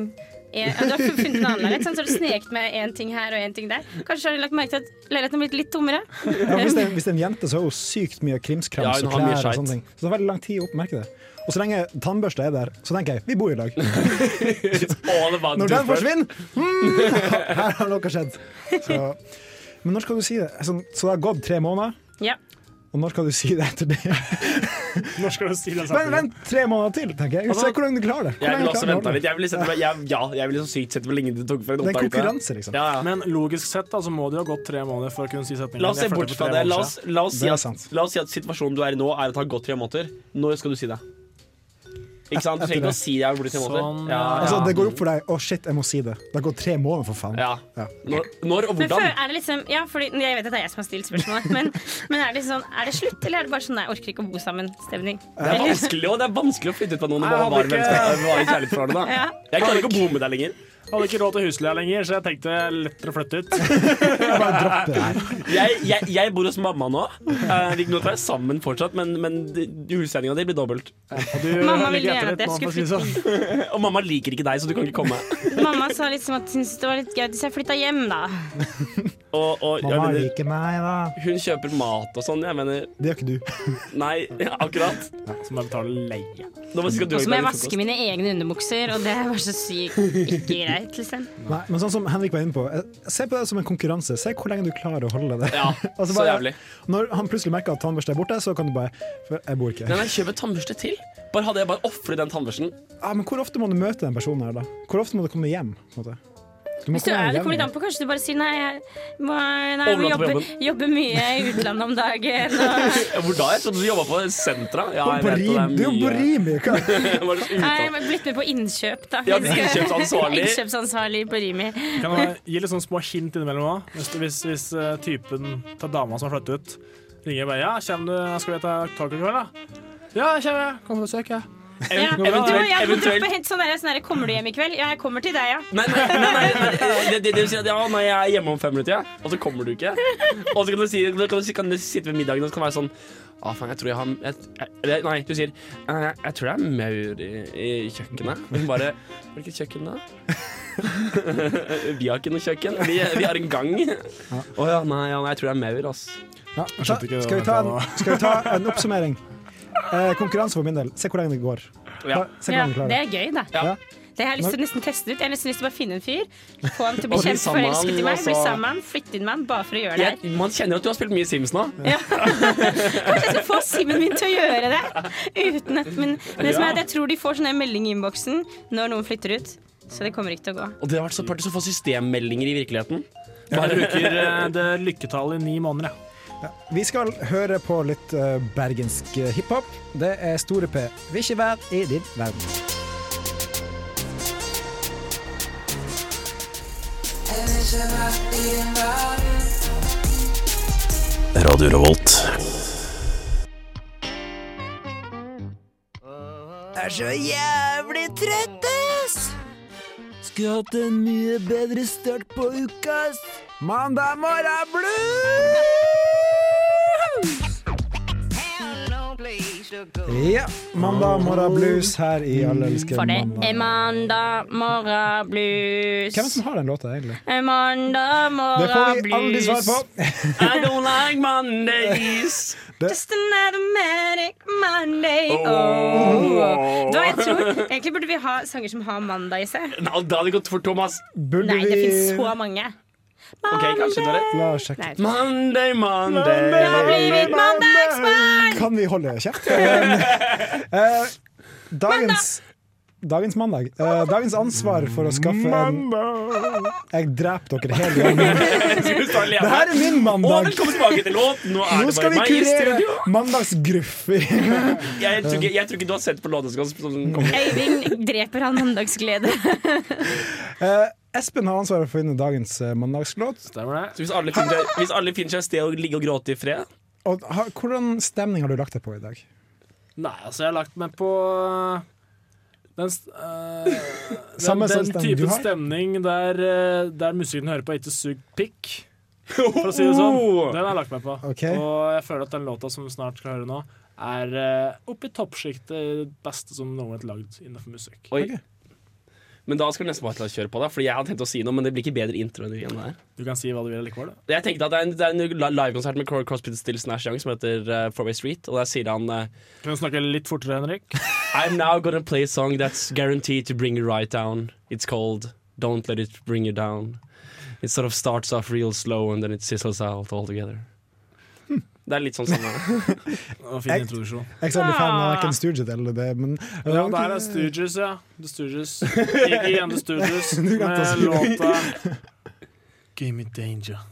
Speaker 4: en, ja, Du har funnet en annen leilighet, sant? så har du sneket med én ting her og én ting der. Kanskje har du lagt merke til at leiligheten har blitt litt tommere.
Speaker 2: Ja, hvis, det er, hvis det er en jente, så har hun sykt mye krimskrams
Speaker 6: Ja, hun
Speaker 2: og
Speaker 6: har mye
Speaker 2: klær. og
Speaker 6: skjeit.
Speaker 2: sånne ting Så det er veldig lang tid å oppmerke det. Og så lenge tannbørsta er der, så tenker jeg vi bor i lag.
Speaker 6: Å, det var
Speaker 2: Når den
Speaker 6: dumt.
Speaker 2: forsvinner, hmm, her har noe skjedd. Så, men når skal du si det? Altså, så det har gått tre måneder,
Speaker 4: Ja.
Speaker 2: og når skal du si det etter det?
Speaker 5: Når skal du si den
Speaker 2: Vent,
Speaker 5: setningen?
Speaker 2: vent tre måneder til, tenker jeg. Se hvordan du klarer det. Hvor
Speaker 6: Altså, Jeg
Speaker 2: lenge
Speaker 6: ville
Speaker 2: klarer du
Speaker 6: også
Speaker 2: å
Speaker 6: venta
Speaker 2: holde det?
Speaker 6: litt. Jeg ville, sett, jeg, ja, jeg ville så sykt sett hvor lenge det tok for en
Speaker 2: Det er en
Speaker 6: oppdagelse.
Speaker 2: konkurranse, liksom.
Speaker 6: Ja, ja.
Speaker 5: Men logisk sett da, så må det jo ha gått tre måneder for å kunne si setningen.
Speaker 6: La oss se
Speaker 5: Jeg flyttet
Speaker 6: bort
Speaker 5: for
Speaker 6: fra
Speaker 5: tre
Speaker 6: det. La
Speaker 5: måneder
Speaker 6: oss, la, oss si
Speaker 2: Det er
Speaker 6: at,
Speaker 2: sant.
Speaker 6: la oss si at situasjonen du er i nå, er at det har gått tre måneder. Når skal du si det? Ikke sant? Du
Speaker 2: Etter det.
Speaker 6: trenger ikke å si det. Jeg har blitt tre måneder.
Speaker 5: Sånn,
Speaker 6: ja,
Speaker 5: ja.
Speaker 2: Altså, det går opp for deg. Å, shit, jeg må si det. Det har gått tre måneder, for faen.
Speaker 6: ja.
Speaker 2: Ja.
Speaker 6: Når, når og
Speaker 4: Men før,
Speaker 6: hvordan?
Speaker 4: er det liksom, ja, fordi, jeg vet at det er jeg som har stilt spørsmålet, men, men er, det sånn, er det slutt, eller er det bare sånn nei, jeg orker ikke å bo sammen-stemning?
Speaker 6: Det er vanskelig, og det er vanskelig å flytte ut fra
Speaker 5: Jeg
Speaker 6: noen og bare
Speaker 5: hadde
Speaker 6: være
Speaker 5: ikke-
Speaker 6: mennesker. Være kjærlighetsforholdet, da.
Speaker 4: Ja.
Speaker 6: Jeg klarer ikke å bo med deg lenger.
Speaker 5: siden. Hadde ikke råd til husleie lenger, så jeg tenkte lettere å flytte ut.
Speaker 2: Jeg bare dropper det her.
Speaker 6: Jeg, jeg, jeg bor hos mamma nå. Eh, vi nå er sammen fortsatt, men, men husregninga di blir dobbelt.
Speaker 5: Og du
Speaker 4: Mamma
Speaker 5: ligger
Speaker 4: ville gjerne
Speaker 5: etter
Speaker 4: at
Speaker 5: litt
Speaker 4: jeg
Speaker 5: nå, for å
Speaker 4: skulle
Speaker 5: si det sånn.
Speaker 6: Og mamma liker ikke deg, så du kan ikke komme.
Speaker 4: Mamma sa liksom at hun syntes det var litt gøy hvis jeg flytta hjem, da.
Speaker 6: Og, og, jeg
Speaker 2: Mamma
Speaker 6: mener,
Speaker 2: liker meg, da.
Speaker 6: hun kjøper mat og sånn. Jeg mener,
Speaker 2: Det gjør ikke du.
Speaker 6: nei, akkurat.
Speaker 5: Så må sånn. jeg betale leie.
Speaker 6: Nå skal du
Speaker 4: Og så må jeg
Speaker 6: lage
Speaker 4: vaske mine egne underbukser, og det var så sykt ikke greit, liksom.
Speaker 2: Nei, men sånn som Henrik var inne på, eh, se på det som en konkurranse. Se hvor lenge du klarer å holde det.
Speaker 6: Ja,
Speaker 2: Altså,
Speaker 6: så
Speaker 2: bare-
Speaker 6: jævlig.
Speaker 2: Når han plutselig merker at tannbørsta er borte, så kan du bare for Jeg bor ikke
Speaker 6: Nei,
Speaker 2: her.
Speaker 6: nei, kjøp en tannbørste til. Bare hadde jeg bare offret den tannbørsten.
Speaker 2: Ja, men hvor ofte må du møte den personen her, da? Hvor ofte må du komme hjem? på en måte? Du må
Speaker 4: Hvis du
Speaker 2: komme
Speaker 4: er det,
Speaker 2: hjem.
Speaker 4: kommer litt an på. Kanskje du bare sier nei, jeg må, nei, jeg må
Speaker 6: Overnatte på
Speaker 4: jobbe, jobbe mye i utlandet om dagen. Og,
Speaker 6: Ja, Hvor da? Jeg trodde du jobba på sentra. Ja, jeg
Speaker 2: På
Speaker 6: vet det,
Speaker 2: rim, du er jo på
Speaker 6: mye-
Speaker 2: rim! jo, hva?
Speaker 6: Hva er det
Speaker 4: nei, jeg
Speaker 6: utad-
Speaker 4: har blitt med på innkjøp, da.
Speaker 6: Ja, innkjøpsansvarlig.
Speaker 4: Innkjøpsansvarlig på Rimi.
Speaker 5: Kan du bare gi litt sånn små hint innimellom òg? Hvis, hvis, hvis eh, typen til dama som har flyttet ut, ringer og bare 'Ja, kommer du? Skal vi ta taco i kveld, da?' 'Ja, jeg kommer. jeg. Kom på besøk, jeg.'
Speaker 4: Ja,
Speaker 5: Går det bra,
Speaker 4: du,
Speaker 5: da?
Speaker 4: jeg må
Speaker 6: eventuelt-
Speaker 4: droppe helt sånn der, sånn der, Kommer du hjem i kveld? Ja, jeg kommer til deg, ja.
Speaker 6: Nei, nei, nei, nei, nei. Det, det, det vil si at ja, nei, jeg er hjemme om fem minutter, ja. og så kommer du ikke. Og så kan du, si, kan du, si- kan du sitte ved middagen og så kan det være sånn ah, faen, jeg tror jeg har jeg, jeg, eller, Nei, du sier eh, jeg tror det er maur i, i kjøkkenet. Og hun bare Hvilket kjøkken da? vi har ikke noe kjøkken. Vi, vi har en gang. Å ja, nei, ja, nei, jeg tror det er maur, ass.
Speaker 2: Ja,
Speaker 5: Jeg
Speaker 2: da,
Speaker 5: skjønte ikke det
Speaker 2: skal, vi ta en, skal vi ta en oppsummering? Eh, konkurranse for min del. Se hvor lenge det går.
Speaker 6: Ja.
Speaker 2: Ta- Se hvor
Speaker 4: ja
Speaker 2: lenge du klarer.
Speaker 4: det er gøy, da.
Speaker 2: Ja.
Speaker 4: Det har jeg lyst til å nesten teste ut. Jeg har nesten lyst til å bare finne en fyr, få han til å bli
Speaker 6: Og bli sammen med
Speaker 4: kjempeforelsket
Speaker 6: han,
Speaker 4: i meg, bli
Speaker 6: altså.
Speaker 4: sammen med han, flytte inn med han, bare for å gjøre det her.
Speaker 6: Jeg, man kjenner jo at du har spilt mye Sims nå.
Speaker 4: Ja. Kanskje jeg skal få Simen min til å gjøre det. Uten at, men men det som er, at jeg tror de får sånn en melding i innboksen når noen flytter ut. Så det kommer ikke til å gå.
Speaker 6: Og det har vært så partisk å få systemmeldinger i virkeligheten.
Speaker 5: Jeg bruker eh, det lykketallet i ni måneder, jeg.
Speaker 2: Vi skal høre på litt eh, bergensk eh, hiphop. Det er Store P. Vil ikke være i din verden.
Speaker 8: Radio Revolt.
Speaker 10: er så jævlig trøtt, ass! Skulle hatt en mye bedre start på uka, ass. Mandag morgen blues!
Speaker 2: Ja, mandag morgen blues her i Alle elsker
Speaker 4: For det
Speaker 2: mandag.
Speaker 4: er mandag morgen blues.
Speaker 2: Hvem er det som har den låta, egentlig?
Speaker 4: Eh, Mandag
Speaker 2: Det får
Speaker 4: morgen
Speaker 2: vi aldri
Speaker 4: blues.
Speaker 2: svar på.
Speaker 6: I don't like Mondays.
Speaker 4: Just another manic Monday. Oh. Da, jeg tror, egentlig burde vi ha sanger som har mandag i seg.
Speaker 6: Nei, Da hadde det gått for Thomas.
Speaker 2: Burde
Speaker 4: Nei, det
Speaker 2: vi
Speaker 4: finnes så mange.
Speaker 6: Ok, kanskje det er det.
Speaker 2: La oss sjekke.
Speaker 4: Nei,
Speaker 6: Monday, Monday.
Speaker 4: Da blir vi mandagsbarn!
Speaker 2: Kan vi holde kjeft? Eh, dagens Dagens mandag. Eh, dagens ansvar for å skaffe en Jeg dreper dere hele gjengen.
Speaker 6: Skal vi stå alene?
Speaker 2: Det her er min
Speaker 6: Og
Speaker 2: mandag.
Speaker 6: velkommen tilbake til låt. Nå er
Speaker 2: Nå
Speaker 6: det
Speaker 2: skal
Speaker 6: bare
Speaker 2: vi
Speaker 6: meg i
Speaker 2: kurere
Speaker 6: studio.
Speaker 2: mandagsgruff.
Speaker 6: Jeg tror, ikke, jeg tror ikke du har sett på låten som som kommer.
Speaker 4: Øyvind dreper han mandagsglede.
Speaker 2: Eh, Espen har ansvaret for å finne dagens eh, mandagslåt.
Speaker 5: Stemmer det?
Speaker 6: Så hvis alle finner seg- Hvis alle finner seg et sted å ligge og gråte i fred
Speaker 2: Og, ha, hvordan stemning har du lagt deg på i dag?
Speaker 5: Nei, altså, jeg har lagt meg på øh, den, st- eh,
Speaker 2: Samme sånn
Speaker 5: den, den
Speaker 2: stemning du
Speaker 5: typen
Speaker 2: har?
Speaker 5: stemning der, eh, der musikken hører på, ikke sug pikk. For å si det sånn. Den har jeg lagt meg på.
Speaker 2: Ok.
Speaker 5: Og jeg føler at den låta som vi snart skal høre nå, er eh, oppe i toppsjiktet i det beste som noen har lagd innenfor musikk.
Speaker 6: Oi. Men da skal du nesten bare la oss kjøre på, da. Fordi jeg hadde tenkt å si noe, men det blir ikke bedre intro enn det igjen der.
Speaker 5: Du kan si hva du vil likevel. da.
Speaker 6: Jeg tenkte at det er en, det er en li- livekonsert med Cro- CrossFit Stills Nash Young som heter uh, Four Way Street, og der sier han eh,
Speaker 5: Kan du snakke litt fortere, Henrik?
Speaker 6: I'm now gonna play a song that's guaranteed to bring you right down. It's called Don't Let It Bring You Down. It sort of starts off real slow and then it sizzles out altogether. Det er litt sånn samme.
Speaker 5: Det var en Fin
Speaker 2: Jeg-
Speaker 5: introduksjon.
Speaker 2: Jeg er ikke så veldig fan av verken Stooges eller det, men eh,
Speaker 5: Ja, det her er Stooges, ja. The Stooges. Ikke igjen The Stooges
Speaker 2: Du kan ta
Speaker 5: med
Speaker 2: Stooges.
Speaker 5: låta Give me danger.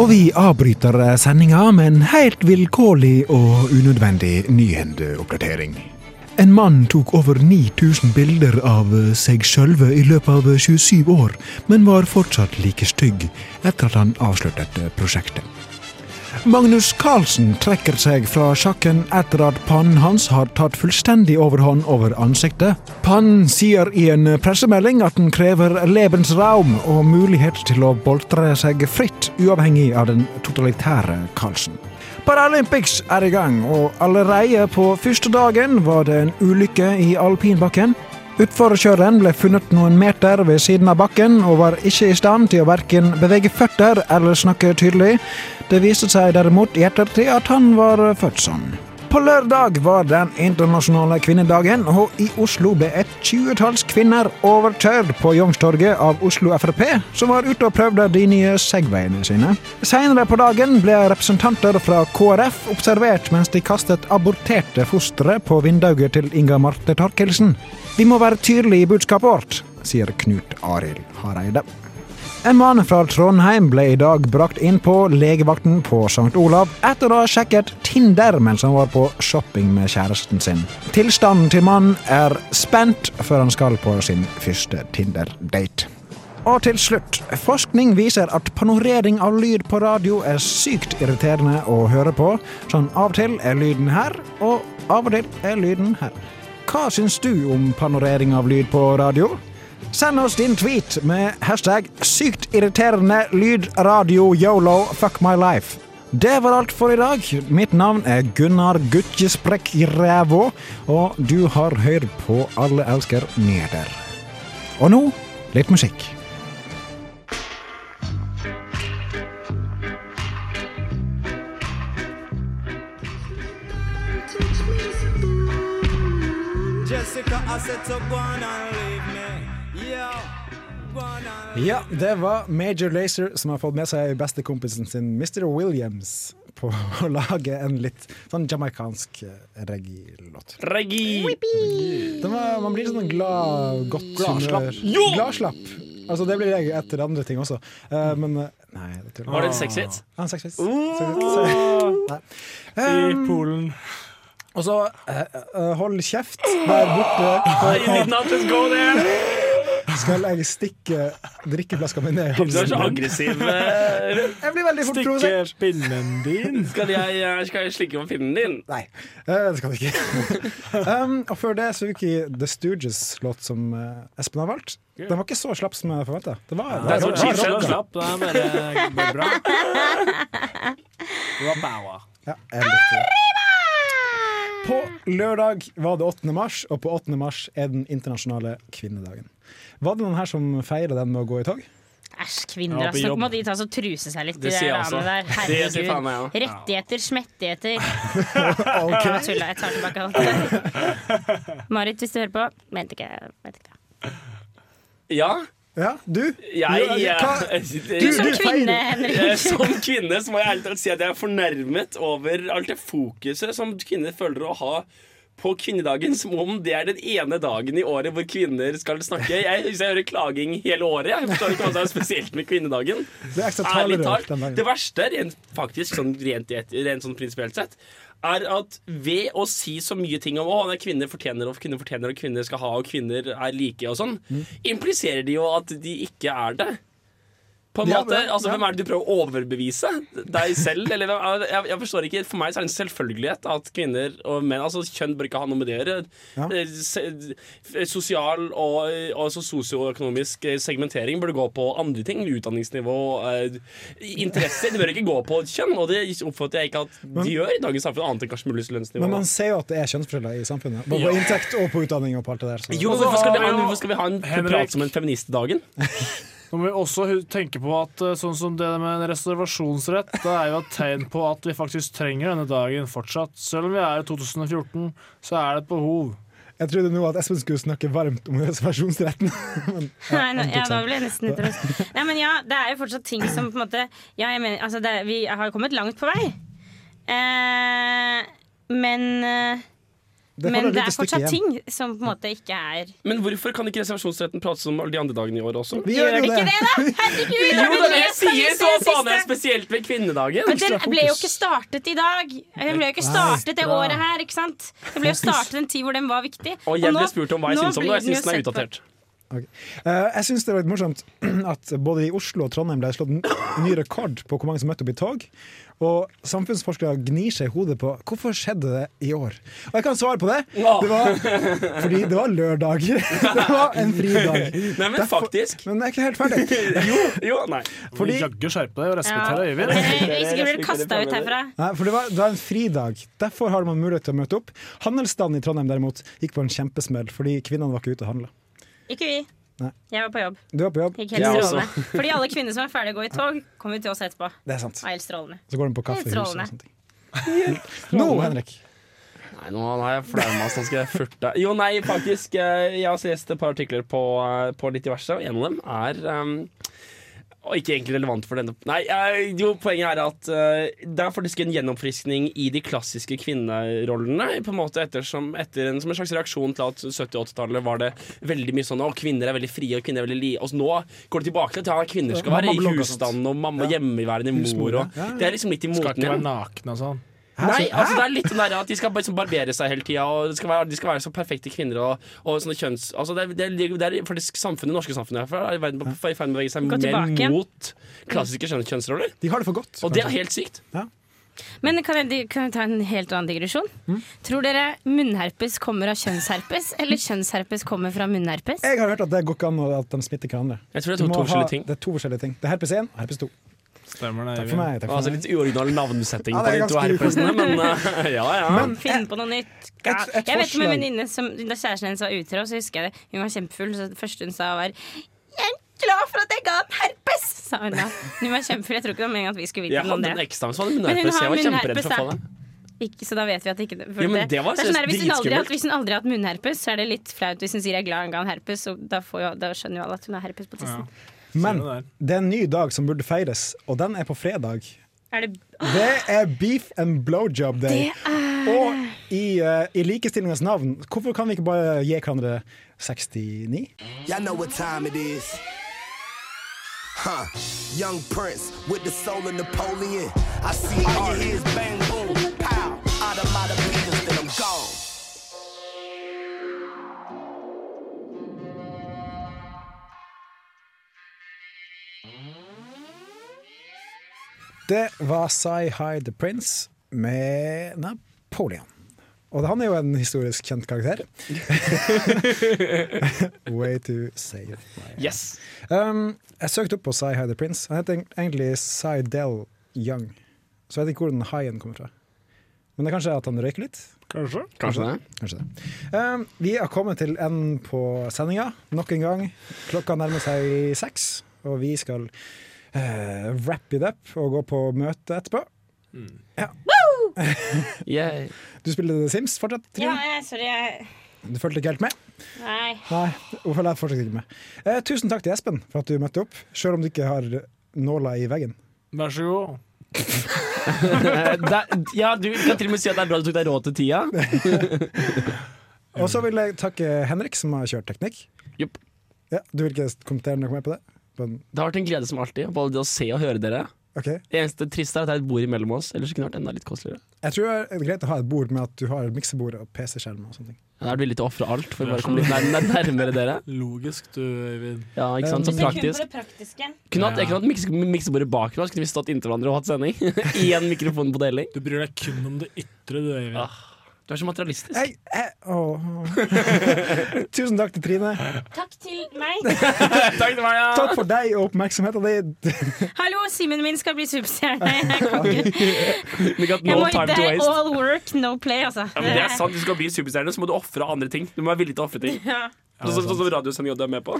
Speaker 2: Og vi avbryter eh, sendinga med en helt vilkårlig og unødvendig nyhendeoppdatering. En mann tok over 9000 bilder av eh, seg sjølve i løpet av 27 år, men var fortsatt like stygg etter at han avsluttet eh, prosjektet. Magnus Carlsen trekker seg fra sjakken etter at pannen hans har tatt fullstendig overhånd over ansiktet. Pannen sier i en pressemelding at den krever lebensraum og mulighet til å boltre seg fritt, uavhengig av den totalitære Carlsen. Paralympics er i gang, og allerede på første dagen var det en ulykke i alpinbakken. Utforkjøreren ble funnet noen meter ved siden av bakken og var ikke i stand til å verken bevege føtter eller snakke tydelig. Det viste seg derimot i ettertid at han var født sånn. På lørdag var den internasjonale kvinnedagen, og i Oslo ble et tjuetalls kvinner overkjørt på Youngstorget av Oslo Frp, som var ute og prøvde de nye Segwayene sine. Senere på dagen ble representanter fra KrF observert mens de kastet aborterte fostre på vinduet til Inga Marte Torkelsen. Vi må være tydelige i budskapet vårt, sier Knut Arild Hareide. En mann fra Trondheim ble i dag brakt inn på legevakten på St. Olav etter å ha sjekket Tinder mens han var på shopping med kjæresten sin. Tilstanden til mannen er spent før han skal på sin første Tinder-date. Og til slutt, forskning viser at panorering av lyd på radio er sykt irriterende å høre på. Sånn av og til er lyden her, og av og til er lyden her. Hva syns du om panorering av lyd på radio? Send oss din tweet med hashtag sykt irriterende lyd radio yolo fuck my life. Det var alt for i dag. Mitt navn er Gunnar Guttjesprekk Rævå, og du har hørt på Alle elsker nyheter. Og nå litt musikk.
Speaker 11: Jessica, I said to go on and leave me. Yo, go on and
Speaker 2: Ja, det var Major Lazer som har fått med seg bestekompisen sin Mr. Williams på å lage en litt sånn jamaicansk eh, reggae-låt.
Speaker 6: Reggae!
Speaker 2: Den var, man blir litt sånn glad, godt
Speaker 6: Gladslapp.
Speaker 2: humør. Gladslapp! Altså, det blir jeg etter andre ting også. Eh, men eh, nei, det tuller jeg. Ah,
Speaker 6: Var det en sexhit?
Speaker 2: Ja, en sexhit. Sexhit. Nei. Um,
Speaker 5: Polen.
Speaker 2: og så eh, eh, hold kjeft der borte.
Speaker 6: I did not just go there!
Speaker 2: Skal jeg stikke drikkeflaska mi ned i
Speaker 6: Du er så
Speaker 2: halsen?
Speaker 6: aggressiv. eh,
Speaker 2: Jeg blir veldig fort provosert.
Speaker 5: Stikke pinnen din.
Speaker 6: Skal jeg, eh, skal jeg slikke på pinnen din?
Speaker 2: Nei, eh, det skal det ikke. um, og før det så gikk i The Stooges-låt som eh, Espen har valgt. Den var ikke så slapp som jeg forventa. Det var,
Speaker 6: Det er så
Speaker 2: det var
Speaker 6: cheap.
Speaker 2: rock.
Speaker 5: Slapp, slapp. Det er bare, bare bra. Det var bæva.
Speaker 2: Ja, jeg likte det. På lørdag var det 8. mars, og på 8. mars er den internasjonale kvinnedagen. Var det noen her som feirer den med å gå i tog?
Speaker 4: Æsj,
Speaker 5: Ja,
Speaker 4: kvinner.
Speaker 5: på
Speaker 4: ass. Nå
Speaker 5: jobb.
Speaker 4: må de ta og truse seg litt.
Speaker 6: Det
Speaker 4: de
Speaker 6: sier jeg
Speaker 4: der damene
Speaker 6: også.
Speaker 4: der.
Speaker 6: Det sier faen
Speaker 4: Herregud.
Speaker 6: meg også.
Speaker 4: Rettigheter, smettigheter.
Speaker 2: Ok.
Speaker 4: Nei, jeg tuller. Jeg tar tilbake alt. Marit, hvis du hører på. Mente ikke, mente ikke det.
Speaker 6: Ja.
Speaker 2: Ja, du?
Speaker 6: Jeg, eh,
Speaker 2: Du- hva-
Speaker 6: jeg,
Speaker 2: Du-
Speaker 4: Som
Speaker 2: du-
Speaker 4: kvinne,
Speaker 2: feirer.
Speaker 4: Henrik.
Speaker 6: Eh, Som kvinne så må jeg ærlig talt si at jeg er fornærmet over alt det fokuset som kvinner føler å ha på kvinnedagen, som om det er den ene dagen i året hvor kvinner skal snakke. Jeg, jeg hører klaging hele året. Jeg forstår ikke hva som er spesielt med kvinnedagen.
Speaker 2: Det er ekstra
Speaker 6: Ærlig
Speaker 2: talerør
Speaker 6: talt.
Speaker 2: den dagen.
Speaker 6: Det verste, rent faktisk, sånn rent, et- rent sånn prinsipielt sett, er at ved å si så mye ting om at kvinner fortjener og kvinner fortjener og kvinner skal ha og kvinner er like og sånn,
Speaker 2: Mm.
Speaker 6: impliserer de jo at de ikke er det. På en
Speaker 2: Ja,
Speaker 6: måte,
Speaker 2: ja,
Speaker 6: altså
Speaker 2: ja.
Speaker 6: Hvem er det du prøver å overbevise? Deg selv? Eller, hvem- jeg, jeg forstår ikke, For meg så er det en selvfølgelighet at kvinner og menn altså Kjønn bør ikke ha noe med det å gjøre.
Speaker 2: Ja.
Speaker 6: Eh, se- f- Sosial og eh, altså sosioøkonomisk eh, segmentering burde gå på andre ting. Utdanningsnivå, eh, interesser. Det bør ikke gå på kjønn, og det oppfatter jeg ikke at de gjør i dagens samfunn, annet enn kanskje muligens lønnsnivå.
Speaker 2: Men man ser jo at det er kjønnsforskjeller i samfunnet. Både på inntekt og på utdanning og på alt det der. Så.
Speaker 6: jo, hvorfor skal, vi ha, en-
Speaker 5: Jo.
Speaker 6: hvorfor skal vi ha en
Speaker 5: Henrik.
Speaker 6: prat som en feministdagen?
Speaker 5: Nå må vi også hu- tenke på at eh, sånn som det med en reservasjonsrett, det er jo et tegn på at vi faktisk trenger denne dagen fortsatt. Selv om vi er i 2014, så er det et behov.
Speaker 2: Jeg trodde nå at Espen skulle snakke varmt om reservasjonsretten. Men, ja,
Speaker 4: Nei, nå,
Speaker 2: han tok
Speaker 4: ja, da
Speaker 2: seg.
Speaker 4: ble jeg nesten litt røst. Nei, men ja, det er jo fortsatt ting som på en måte Ja, jeg mener, altså det, er- vi har kommet langt på vei. Eh, men eh,
Speaker 2: får et
Speaker 4: men det
Speaker 2: lite
Speaker 4: er
Speaker 2: stykke
Speaker 4: fortsatt
Speaker 2: igjen.
Speaker 4: ting som på en måte ikke er
Speaker 6: Men hvorfor kan ikke reservasjonsretten prates om alle de andre dagene i året også?
Speaker 2: Vi
Speaker 4: Gjør det ikke det, da? Herregud!
Speaker 6: Jo,
Speaker 4: har du
Speaker 6: det er det jeg
Speaker 4: lest
Speaker 6: sier! Så
Speaker 4: avisen
Speaker 6: faen er
Speaker 4: siste?
Speaker 6: spesielt ved kvinnedagen.
Speaker 4: Men den ble jo ikke startet i dag. Den ble jo ikke startet det året her, ikke sant? Den ble jo startet en tid hvor den var viktig.
Speaker 6: Og jeg ble
Speaker 4: nå-
Speaker 6: spurt om hva jeg
Speaker 4: nå
Speaker 6: syns om det,
Speaker 4: blir
Speaker 6: og jeg syns
Speaker 4: jo
Speaker 6: den er
Speaker 4: sett på-
Speaker 6: utdatert.
Speaker 2: Ok. Eh, jeg syns det var litt morsomt at både i Oslo og Trondheim ble det slått en ny rekord på hvor mange som møtte opp i tog. Og samfunnsforskere gnir seg i hodet på hvorfor skjedde det i år. Og jeg kan svare på det.
Speaker 6: Åh.
Speaker 2: det var, fordi det var lørdag. Det var en fridag.
Speaker 6: Nei, men faktisk.
Speaker 2: Men jeg er ikke helt ferdig.
Speaker 6: Jo, nei.
Speaker 5: Fordi...
Speaker 2: Fordi-
Speaker 5: Jaggu skjerpe deg og respektere
Speaker 4: Ja.
Speaker 5: Øyvind.
Speaker 4: Eh, Hvis ikke blir du kasta ut herfra.
Speaker 2: Nei, for det var, det var en fridag. Derfor har man mulighet til å møte opp. Handelsstanden i Trondheim derimot gikk på en kjempesmell fordi kvinnene var ikke ute og handla.
Speaker 4: Ikke vi.
Speaker 2: Nei.
Speaker 4: Jeg var på jobb.
Speaker 2: Du var på jobb.
Speaker 4: Gikk helt
Speaker 6: Jeg også.
Speaker 4: strålende. Fordi alle kvinner som er ferdige å gå i tog, kommer jo til oss etterpå.
Speaker 2: Det er sant.
Speaker 4: Var helt strålende.
Speaker 2: Så går de på kaffehus og
Speaker 4: Strålende.
Speaker 2: sånne ting. Nå, Henrik.
Speaker 6: Nei, nå har jeg flauma, så nå skal jeg furte. Jo, nei, faktisk. eh, Jeg har lest et par artikler på, eh, på litt diverse, og en av dem er ehm, og ikke egentlig relevant for denne Nei, eh, jo, poenget er at eh, det er faktisk en gjennomfriskning i de klassiske kvinnerollene. På en måte ettersom, etter en, Som en slags reaksjon til at 70-80-tallet var det veldig mye sånn at kvinner er veldig frie og kvinner er veldig li... Og så nå går det tilbake til at ja, kvinner skal
Speaker 5: Ja,
Speaker 6: være
Speaker 5: mamma blogg
Speaker 6: i
Speaker 5: og sånt.
Speaker 6: husstanden og mamma hjemmeværende
Speaker 5: Husmor,
Speaker 6: mor.
Speaker 5: ja.
Speaker 6: Og, det er liksom litt i
Speaker 5: Skal
Speaker 6: moten
Speaker 5: ikke være
Speaker 6: igjen.
Speaker 5: nakne og sånn.
Speaker 6: Nei, altså det er litt den der at de skal bare liksom barbere seg hele tida, og det skal være, de skal være så perfekte kvinner og, og sånne kjønns... Altså det, er- det, er- det er faktisk samfunnet, det norske samfunnet herfra er i verden på- i ferd med å bevege seg
Speaker 4: Gå
Speaker 6: mer
Speaker 4: tilbake igjen.
Speaker 6: mot klassiske kjønn, kjønnsroller.
Speaker 2: De har det for godt.
Speaker 6: Og det er helt sykt.
Speaker 4: Men kan jeg, kan jeg ta en helt annen digresjon?
Speaker 6: Mm.
Speaker 4: Tror dere munnherpes kommer av kjønnsherpes, eller kjønnsherpes kommer fra munnherpes?
Speaker 2: Jeg har hørt at det går ikke an å- at de smitter hverandre.
Speaker 6: Jeg tror det er to-
Speaker 2: Du må
Speaker 6: to
Speaker 2: ha-
Speaker 6: forskjellige ting.
Speaker 2: Det er to forskjellige ting. Det er herpes 1 og herpes 2.
Speaker 5: Stemmer det.
Speaker 2: Takk for meg. Takk for
Speaker 6: Altså
Speaker 2: meg.
Speaker 6: litt uoriginal navnsetting
Speaker 2: Ja,
Speaker 6: på
Speaker 2: det er
Speaker 6: de to
Speaker 2: ganske
Speaker 6: herpesene, men
Speaker 2: uoriginal.
Speaker 6: eh, ja ja.
Speaker 2: Men-
Speaker 4: Finn på noe nytt. Ja.
Speaker 2: Et- et
Speaker 4: jeg vet om en
Speaker 2: forslag.
Speaker 4: venninne som Da kjæresten hennes var utro, så husker jeg det. Hun var kjempefull, så det første hun sa var Jeg er glad for at jeg ga ham herpes! sa hun da. Hun var kjempefull. Jeg tror ikke det var meningen at vi skulle vite
Speaker 6: jeg
Speaker 4: noe om
Speaker 6: hadde en
Speaker 4: det.
Speaker 6: eksamen som hadde
Speaker 4: Men hun
Speaker 6: munnherpes,
Speaker 4: har
Speaker 6: jeg var
Speaker 4: munnherpes,
Speaker 6: kjemperedd for å få
Speaker 4: da.
Speaker 6: det.
Speaker 4: Ikke, så da vet vi at ikke for
Speaker 6: Ja, men det var
Speaker 4: er sånn
Speaker 6: seriøst
Speaker 4: her, hvis, hun aldri, har-
Speaker 6: dritskummelt.
Speaker 4: hvis hun aldri har hatt munnherpes, så er det litt flaut hvis hun sier jeg er glad hun ga ham herpes, og da, får jo, da skjønner jo alle at hun har herpes på tissen.
Speaker 2: Men det er en ny dag som burde feires, og den er på fredag.
Speaker 4: Er det
Speaker 2: Det er beef and blowjob day. Og i, uh, i likestillingens navn, hvorfor kan vi ikke bare gi hverandre 69?
Speaker 12: Y'all know what time it is. Huh. Young Prince with the soul of Napoleon. I see all you hear is bang, boom, pow. Out of my beaters, then I'm gone.
Speaker 2: Det var Sci High The Prince med Napoleon. Og han er jo en historisk kjent karakter. Way to say it.
Speaker 6: Yes.
Speaker 2: Um, jeg søkte opp på Sci High The Prince. Han heter egentlig Cy Del Young. Så jeg vet ikke hvor den high-en kommer fra. Men det er kanskje at han røyker litt?
Speaker 5: Kanskje.
Speaker 6: Kanskje det.
Speaker 2: Kanskje det. Um, vi har kommet til enden på sendinga nok en gang. Klokka nærmer seg seks, og vi skal eh, wrap it up og gå på møte etterpå. Ja. du spiller The Sims fortsatt,
Speaker 4: Ja,
Speaker 2: Trine?
Speaker 4: jeg- sorry, jeg
Speaker 2: Du fulgte ikke helt med?
Speaker 4: Nei.
Speaker 2: Nei, hun følger jeg fortsatt ikke med. Eh, tusen takk til Espen for at du møtte opp, sjøl om du ikke har nåla i veggen.
Speaker 5: Vær så god.
Speaker 6: Det- ja, du kan til og med si at det er bra du tok deg råd til tida.
Speaker 2: Og så vil jeg takke Henrik, som har kjørt teknikk. Ja, du vil ikke kommentere noe mer på det? Men
Speaker 6: Det har vært en glede som alltid, både det å se og høre dere.
Speaker 2: Ok.
Speaker 6: Det eneste triste er at det er et bord imellom oss, ellers kunne det vært enda litt koseligere.
Speaker 2: jeg tror det er greit å ha et bord med at du har miksebord og PC-skjerm og sånne ting.
Speaker 6: Jeg er villig til å ofre alt for å bare komme litt nærmere, nærmere dere. Eh,
Speaker 5: Logisk, du, Øyvind.
Speaker 6: Ja, ikke sant? Så
Speaker 4: Men kun for
Speaker 6: praktisk.
Speaker 4: det praktiske.
Speaker 6: Kunne hatt, jeg kunne hatt mikse, miksebordet bak meg, så kunne vi stått inntil hverandre og hatt sending. Én mikrofon på deling.
Speaker 5: Du bryr deg kun om det ytre, du, Øyvind.
Speaker 6: Du er så materialistisk.
Speaker 2: Jeg, jeg, åh. Tusen takk til Trine.
Speaker 4: Takk til meg.
Speaker 6: Takk til meg, ja.
Speaker 2: Takk for deg og oppmerksomheten din.
Speaker 4: Hallo, Simen min skal bli superstjerne. Jeg kan ikke-
Speaker 6: We got
Speaker 4: Jeg
Speaker 6: no
Speaker 4: må
Speaker 6: time
Speaker 4: det
Speaker 6: to
Speaker 4: er
Speaker 6: waste.
Speaker 4: all work, no play, altså.
Speaker 6: Ja, men det er sant, Du skal bli superstjerne, så må du ofre andre ting. Du må være villig til å ofre ting.
Speaker 4: Ja.
Speaker 6: Sånn som sånn som radiosendinga du er med på.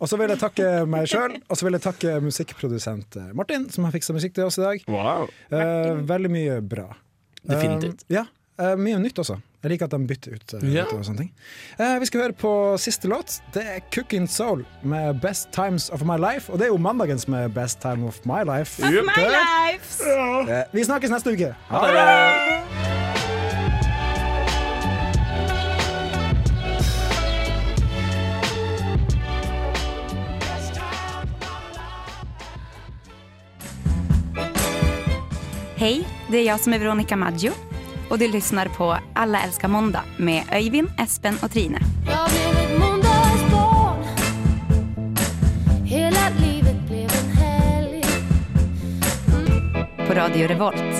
Speaker 2: Og så vil jeg takke meg sjøl, og så vil jeg takke musikkprodusent eh, Martin, som har fiksa musikk til oss i dag. Eh, veldig mye bra.
Speaker 6: Definitivt.
Speaker 2: Eh, ja. Eh, mye nytt også. Jeg liker at de bytter ut. eh,
Speaker 6: Ja.
Speaker 2: låter og sånne ting. Eh, vi skal høre på siste låt. Det er 'Cooking Soul' med 'Best Times of My Life'. Og det er jo mandagen som er 'Best Time of My Life'.
Speaker 4: Of my lives.
Speaker 2: Eh, vi snakkes neste uke.
Speaker 6: Ha det!
Speaker 13: Hej, det är jag som är Veronica Maggio och du lyssnar på Alla älskar måndag med Öyvind, Espen och Trine.
Speaker 14: Jag blev ett måndagsbarn Hela livet blev en helg
Speaker 13: På Radio Revolt